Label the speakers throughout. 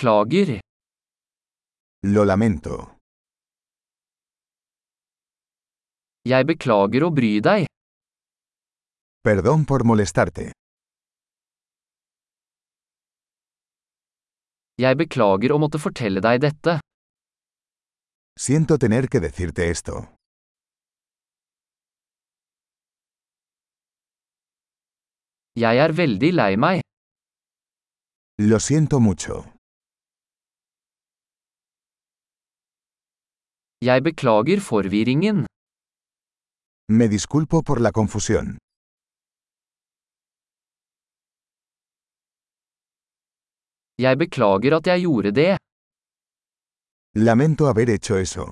Speaker 1: Beklager.
Speaker 2: Lo lamento.
Speaker 1: Jeg beklager å bry deg.
Speaker 2: Perdón por molestarte.
Speaker 1: Jeg beklager å måtte fortelle deg dette.
Speaker 2: Siento tener que decirte esto.
Speaker 1: Jeg er veldig lei meg.
Speaker 2: Lo siento mucho.
Speaker 1: Jeg beklager forvirringen.
Speaker 2: Me disculpo por la confusión.
Speaker 1: Jeg beklager at jeg gjorde det.
Speaker 2: Lamento haber hecho eso.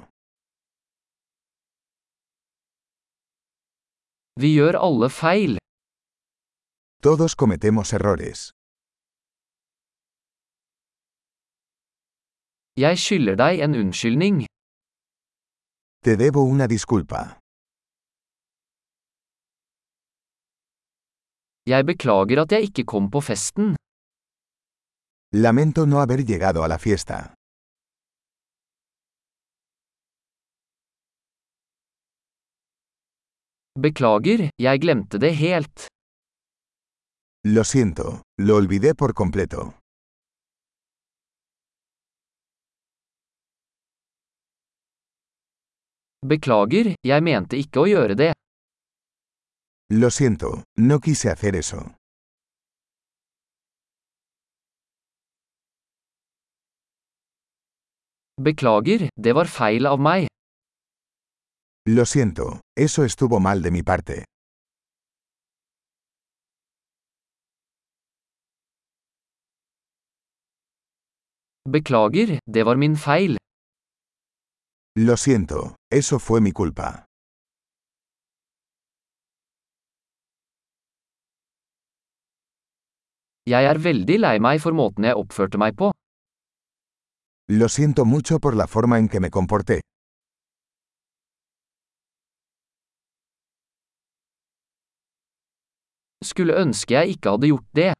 Speaker 1: Vi gjør alle feil.
Speaker 2: Todos cometemos errores.
Speaker 1: Jeg skylder deg en unnskyldning.
Speaker 2: Te debo una disculpa.
Speaker 1: Jeg beklager at jeg ikke kom på festen.
Speaker 2: Lamento no haber llegado a la fiesta.
Speaker 1: Beklager, jeg glemte det helt.
Speaker 2: Lo siento, lo olvidé por completo.
Speaker 1: Beklager, jeg mente ikke å gjøre det.
Speaker 2: Lo siento, no quise hacer eso.
Speaker 1: Beklager, det var feil av meg.
Speaker 2: Lo siento, eso estuvo mal de mi parte.
Speaker 1: Beklager, det var min feil.
Speaker 2: Lo siento, eso fue mi culpa.
Speaker 1: Jeg er veldig lei meg for måten jeg oppførte meg på.
Speaker 2: Lo siento mucho por la forma en que me comporté.
Speaker 1: Skulle ønske jeg ikke hadde gjort det.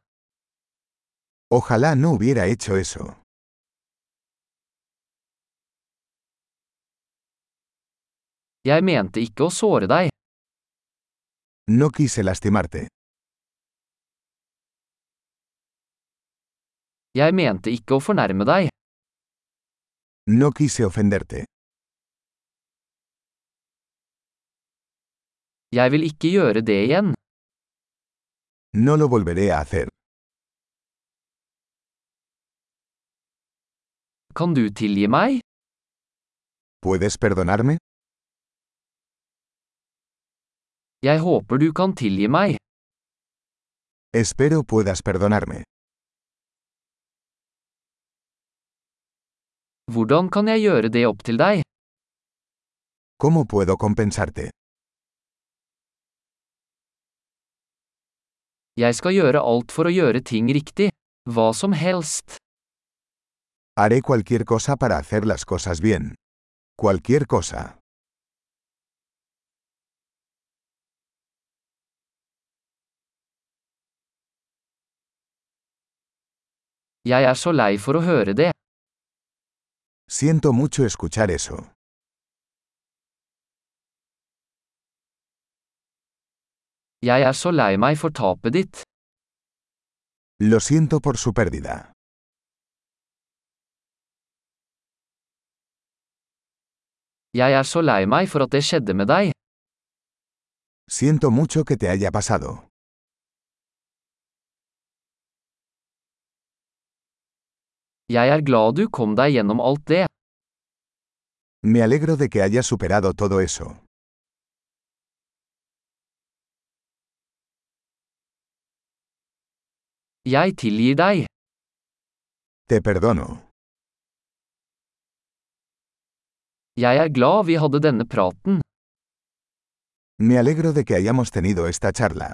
Speaker 2: Ojalá no hubiera hecho eso.
Speaker 1: Jeg mente ikke å såre deg.
Speaker 2: No quise lastimarte.
Speaker 1: Jeg mente ikke å fornærme deg.
Speaker 2: No quise ofenderte.
Speaker 1: Jeg vil ikke gjøre det igjen.
Speaker 2: No lo volveré a hacer.
Speaker 1: Kan du tilgi meg?
Speaker 2: ¿Puedes perdonarme?
Speaker 1: Jeg håper du kan tilgi meg.
Speaker 2: Espero puedas perdonarme.
Speaker 1: Hvordan kan jeg gjøre det opp til deg?
Speaker 2: ¿Cómo puedo compensarte?
Speaker 1: Jeg skal gjøre alt for å gjøre ting riktig. Hva som helst.
Speaker 2: Haré cualquier cosa para hacer las cosas bien. Cualquier cosa.
Speaker 1: Jeg er så lei for å høre det.
Speaker 2: Siento mucho escuchar eso.
Speaker 1: Jeg er så lei meg for tapet ditt.
Speaker 2: Lo siento por su pérdida.
Speaker 1: Jeg er så lei meg for at det skjedde med deg.
Speaker 2: Siento mucho que te haya pasado.
Speaker 1: Jeg er glad du kom deg gjennom alt det.
Speaker 2: Me alegro de que hayas superado todo eso.
Speaker 1: Jeg tilgir deg.
Speaker 2: Te perdono.
Speaker 1: Jeg er glad vi hadde denne praten.
Speaker 2: Me alegro de que hayamos tenido esta charla.